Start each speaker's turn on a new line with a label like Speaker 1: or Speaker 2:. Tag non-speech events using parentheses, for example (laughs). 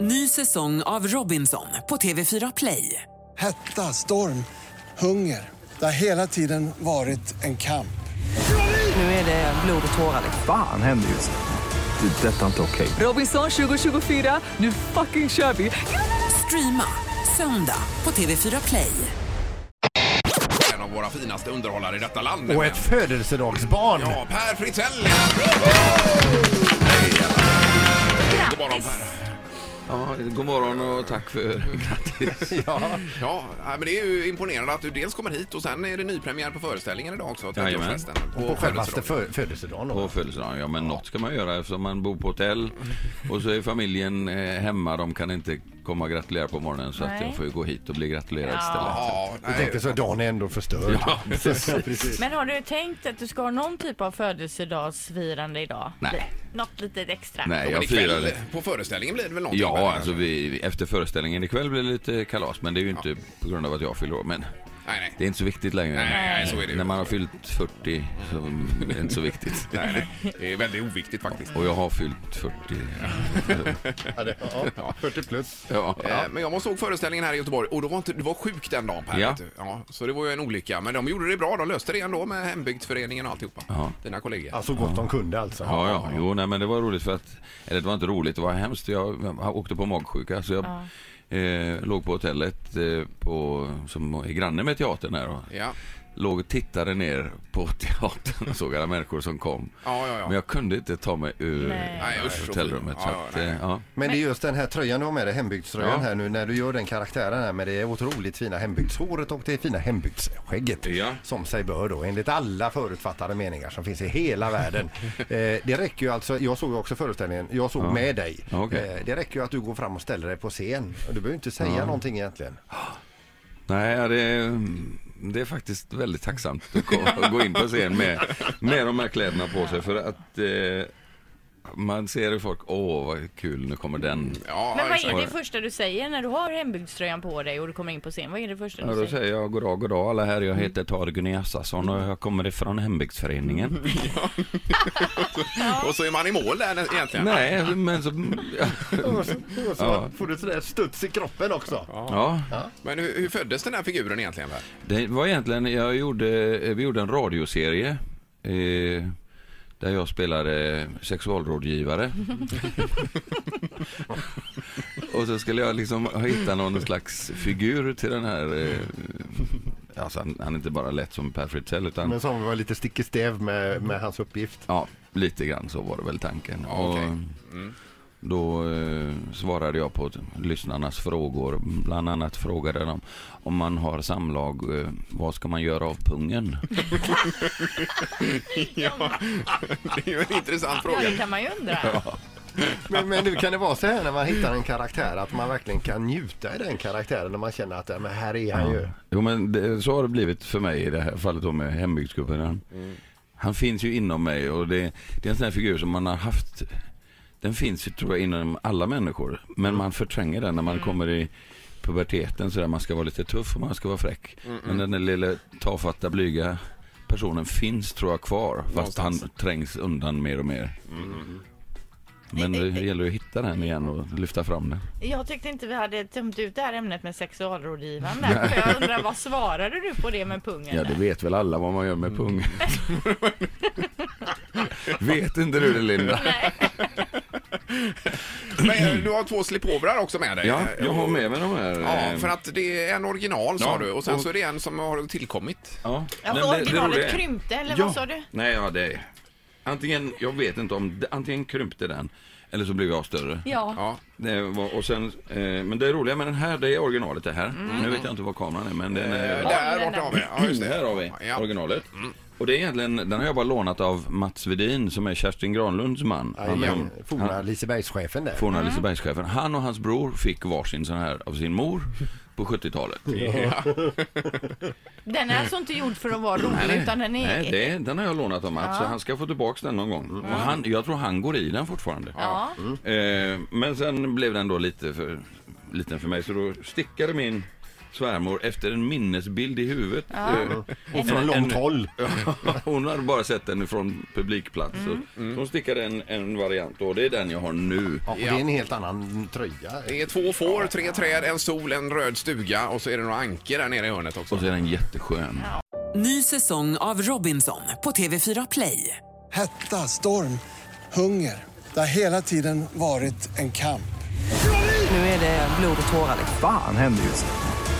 Speaker 1: Ny säsong av Robinson på TV4 Play.
Speaker 2: Hetta, storm, hunger. Det har hela tiden varit en kamp.
Speaker 1: Nu är det blod och tårar.
Speaker 3: Fan händer just nu. Det. är Detta är inte okej.
Speaker 1: Robinson 2024, nu fucking kör vi! Streama söndag på TV4 Play.
Speaker 4: en av våra finaste underhållare i detta land.
Speaker 5: Och ett födelsedagsbarn.
Speaker 4: Ja, Per Fritzell! God morgon, Per.
Speaker 6: Ja, god morgon och tack för grattis. (laughs)
Speaker 4: Ja, nej, men det är ju imponerande att du dels kommer hit och sen är det nypremiär på föreställningen idag också. 30-årsfesten.
Speaker 5: På självaste
Speaker 4: födelsedagen.
Speaker 5: fö födelsedagen då.
Speaker 6: På födelsedagen, ja men något ska man göra eftersom man bor på hotell och så är familjen eh, hemma, de kan inte komma och gratulera på morgonen så att
Speaker 7: Nej.
Speaker 6: jag får ju gå hit och bli gratulerad istället.
Speaker 4: Ja,
Speaker 5: Jag
Speaker 4: nej,
Speaker 5: tänkte så, dagen är ändå förstörd. (laughs)
Speaker 6: Ja,
Speaker 5: precis.
Speaker 7: Men har du tänkt att du ska ha någon typ av födelsedagsfirande idag?
Speaker 6: Nej.
Speaker 7: Något litet extra?
Speaker 6: Nej,
Speaker 4: men
Speaker 6: jag firar
Speaker 4: ikväll
Speaker 6: det.
Speaker 4: på föreställningen blir det väl någonting?
Speaker 6: Ja,
Speaker 4: Per?
Speaker 6: alltså vi, vi- efter föreställningen ikväll blir det lite kalas men det är ju inte på grund av att jag fyller år men
Speaker 4: Nej,
Speaker 6: det
Speaker 4: nej.
Speaker 6: är inte så viktigt längre.
Speaker 4: Nej, nej, nej, så är det ju.
Speaker 6: När man har fyllt 40 så är det inte så viktigt.
Speaker 4: Nej, nej. Det är väldigt oviktigt faktiskt.
Speaker 6: Och jag har fyllt 40.
Speaker 5: Ja, det- ja, 40 plus.
Speaker 6: Ja.
Speaker 4: Eh, Men jag såg föreställningen här i Göteborg och då var inte, du var sjuk den dagen Per.
Speaker 6: Ja.
Speaker 4: vet du. ja. Så det var ju en olycka. Men de gjorde det bra. De löste det ändå med hembygdsföreningen och alltihopa.
Speaker 6: Ja.
Speaker 4: Dina kollegor.
Speaker 5: Ja, så gott de kunde alltså.
Speaker 6: Ja, ja, jo, nej, men det var roligt för att, eller det var inte roligt, det var hemskt. Jag, jag åkte på magsjuka så jag eh, låg på hotellet eh, på, som är granne med teatern här och
Speaker 4: Ja.
Speaker 6: låg och tittade ner på teatern och såg alla människor som kom.
Speaker 4: Ja, ja, ja.
Speaker 6: Men jag kunde inte ta mig ur
Speaker 4: Nej, usch,
Speaker 6: hotellrummet.
Speaker 4: usch.
Speaker 6: så
Speaker 4: Ja, ja,
Speaker 6: att,
Speaker 4: nej.
Speaker 6: eh, ja.
Speaker 5: Men det är just den här tröjan du har med dig, hembygdströjan
Speaker 6: Ja.
Speaker 5: här nu, när du gör den karaktären här med det otroligt fina hembygdshåret och det fina hembygdsskägget.
Speaker 6: Ja.
Speaker 5: Som sig bör då, enligt alla förutfattade meningar som finns i hela världen.
Speaker 6: (laughs)
Speaker 5: eh, det räcker ju alltså, jag såg ju också föreställningen, jag såg med dig.
Speaker 6: Okej.
Speaker 5: Eh, det räcker ju att du går fram och ställer dig på scen. Och Du behöver inte säga någonting egentligen.
Speaker 6: Nej, ja, det, det är faktiskt väldigt tacksamt att gå, att gå in på scen med, med de här kläderna på sig för att eh, man ser ju folk, åh vad kul, nu kommer den.
Speaker 4: Ja,
Speaker 7: Men vad
Speaker 4: exakt.
Speaker 7: är det första du säger när du har hembygdströjan på dig och du kommer in på scen? Vad är det första
Speaker 6: Ja,
Speaker 7: du
Speaker 6: då
Speaker 7: säger?
Speaker 6: säger jag goddag, goddag alla här. Jag heter Torgny Assasson och jag kommer ifrån hembygdsföreningen.
Speaker 4: (laughs) Och så är man i mål där nä- egentligen.
Speaker 6: Nej, men så...
Speaker 5: Och så, och så
Speaker 6: Ja.
Speaker 5: får du sådär studs i kroppen också.
Speaker 6: Ja,
Speaker 4: Men hur, hur föddes den här figuren egentligen? Per?
Speaker 6: det var egentligen... Jag gjorde, vi gjorde en radioserie eh, där jag spelade sexualrådgivare. och så skulle jag liksom hitta någon slags figur till den här... Eh, alltså han, han är inte bara lätt som Per Fritzell utan...
Speaker 5: Men som var lite stick i stäv med, med hans uppgift.
Speaker 6: Ja, lite grann så var det väl tanken.
Speaker 4: Ja, okej.
Speaker 6: Och Då eh, svarade jag på t- lyssnarnas frågor. Bland annat frågade de om man har samlag, eh, vad ska man göra av pungen?
Speaker 4: Det är ju en intressant
Speaker 7: Ja,
Speaker 4: fråga.
Speaker 7: det kan man ju
Speaker 6: (laughs)
Speaker 7: undra.
Speaker 5: Men, men nu kan det vara så här när man hittar en karaktär att man verkligen kan njuta i den karaktären när man känner att ja, men här är han ju.
Speaker 6: Jo men det, så har det blivit för mig i det här fallet då med hembygdsgubben. Han, han finns ju inom mig och det, det är en sån här figur som man har haft. Den finns ju tror jag inom alla människor. Men man förtränger den när man kommer i puberteten sådär. Man ska vara lite tuff och man ska vara fräck. Men den där lilla tafatta blyga personen finns tror jag kvar. Fast han trängs undan mer och mer. Men det gäller ju att hitta den igen och lyfta fram den.
Speaker 7: Jag tyckte inte vi hade tömt ut det här ämnet med sexualrådgivande. För jag undrar, vad svarade du på det med pungen?
Speaker 6: Ja, det vet väl alla vad man gör med pung. (laughs) vet inte du det, Linda?
Speaker 7: Nej.
Speaker 4: Men eh, du har två slipovrar också med dig.
Speaker 6: Ja,
Speaker 4: Eh,
Speaker 6: jag har
Speaker 4: och-
Speaker 6: med mig de här.
Speaker 4: Ja,
Speaker 6: eh,
Speaker 4: för att det är en original sa
Speaker 6: Ja,
Speaker 4: du och sen
Speaker 6: och-
Speaker 4: så är det en som har tillkommit.
Speaker 6: Ja,
Speaker 7: Ja,
Speaker 6: Nej,
Speaker 7: för
Speaker 6: det- det roliga
Speaker 7: originalet
Speaker 6: är-
Speaker 7: krympte, eller
Speaker 6: ja.
Speaker 7: vad sa du?
Speaker 6: Nej, ja, det är... Antingen, jag vet inte om, antingen krympte den eller så blev jag större.
Speaker 7: Ja.
Speaker 4: Ja,
Speaker 6: Det var, och sen, eh, men det roliga med den här, det är originalet det här.
Speaker 7: Mm.
Speaker 6: Nu vet jag inte var kameran är, men den är...
Speaker 4: eh,
Speaker 7: Ja,
Speaker 4: där
Speaker 7: den
Speaker 4: borta
Speaker 7: där.
Speaker 4: har vi. Ja, just det.
Speaker 6: Här har vi
Speaker 4: Ja. Mm.
Speaker 6: originalet. Och det är egentligen, den har jag bara lånat av Mats Vedin som är Kerstin Granlunds man. Han-
Speaker 5: Jajamän,
Speaker 6: han-
Speaker 5: Forna Lisebergschefen där.
Speaker 6: Forna Lisebergschefen. Han och hans bror fick varsin sån här av sin mor på 70-talet.
Speaker 7: Den är alltså inte gjord för att vara rolig,
Speaker 6: Nej,
Speaker 7: utan den är...
Speaker 6: Nej, det, den har jag lånat av Mats, så han ska få tillbaka den någon gång. Och han, jag tror han går i den fortfarande.
Speaker 7: Ja.
Speaker 6: Eh, men sen blev den då lite för liten för mig, så då stickade min svärmor efter en minnesbild i huvudet. Eh,
Speaker 5: Och från långt håll.
Speaker 6: (laughs) Hon hade bara sett den från publikplats. Så
Speaker 7: Mm.
Speaker 6: hon stickade en, en variant och det är den jag har nu.
Speaker 5: Ja, och det är en helt annan tröja.
Speaker 4: Det är två får, tre träd, en sol, en röd stuga och så är det några anker där nere i hörnet också.
Speaker 6: Och så är den jätteskön.
Speaker 1: Ny säsong av Robinson på TV4 Play.
Speaker 2: Hetta, storm, hunger. Det har hela tiden varit en kamp.
Speaker 8: Nu är det blod och tårar.
Speaker 3: Fan händer just nu.